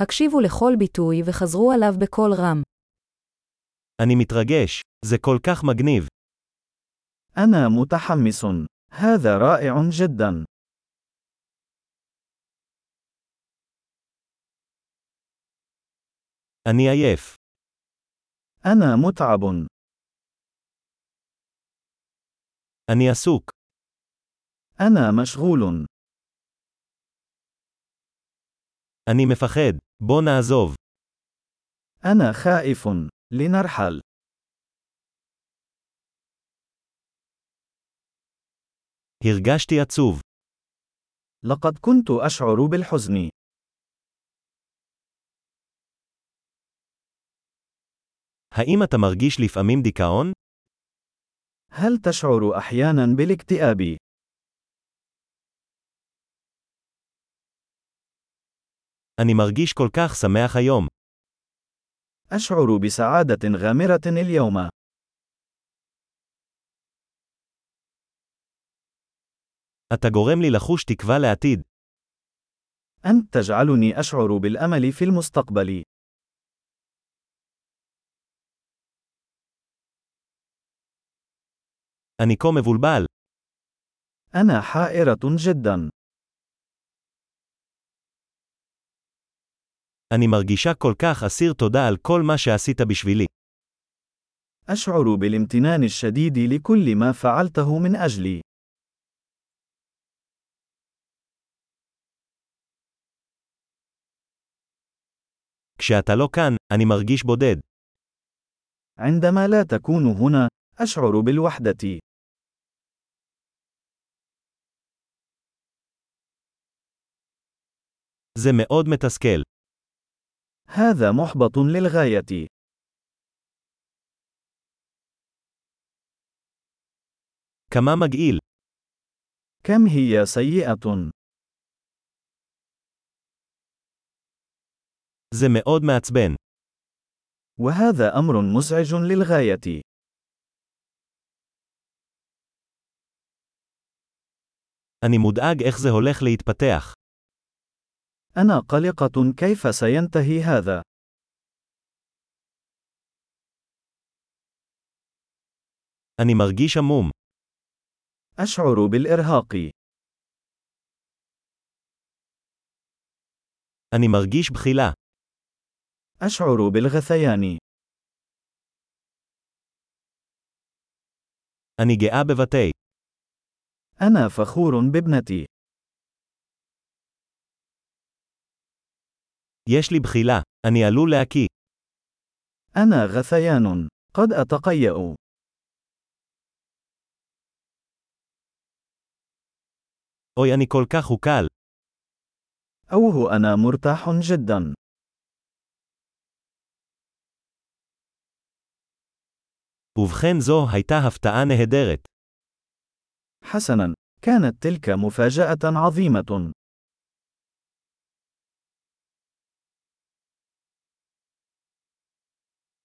הקשיבו לכל ביטוי וחזרו עליו בקול רם. אני מתרגש, זה כל כך מגניב. أنا متحمس. هذا رائع جدا. אני עייף. أنا متعب. אני עסוק. أنا مشغول. אני מפחד. בוא נעזוב. أنا خائف. لنرحل. הרגשתי עצוב. لقد كنت أشعر بالحزن. האם אתה מרגיש לפעמים דיכאון? هل تشعر أحيانا بالاكتئاب؟ אני מרגיש כל כך שמח היום. أشعر بسعادة غامرة اليوم. אתה גורם לי לחוש תקווה לעתיד. أنت تجعلني أشعر بالأمل في المستقبل. אני כה מבולבל. أنا حائرة جدا. אני מרגישה כל כך אסיר תודה על כל מה שעשית בשבילי. أشعر بالامتنان الشديد لكل ما فعلته من أجلي. כשאתה לא כאן, אני מרגיש בודד. عندما لا تكون هنا، أشعر بالوحدة. זה מאוד מתסכל. هذا محبط للغاية. כמה מגעיל. كم هي سيئة. זה מאוד מעצבן. وهذا أمر مزعج للغاية. אני מודאג איך זה הולך להתפתח. أنا قلقة كيف سينتهي هذا. אני מרגיש עמום. أشعر بالإرهاق. אני מרגיש בחילה. أشعر بالغثيان. אני גאה בבתי. أنا فخور بابنتي. יש לי בחילה. אני עלול להקיא. أنا غثيان. قد أتقيأ. אוי, אני כל כך הוקל. أوه أنا مرتاح جدا. ובכן זו הייתה הפתעה נהדרת. حسنا، كانت تلك مفاجأة عظيمة.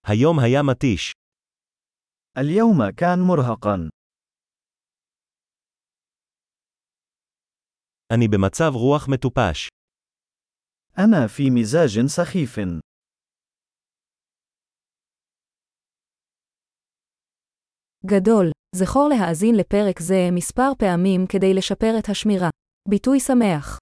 היום היה מתיש. اليوم كان مرهقا. אני במצב רוח מטופש. أنا في مزاج سخيف. גדול, זכור להאזין לפרק זה מספר פעמים כדי לשפר את השמירה. ביטוי שמח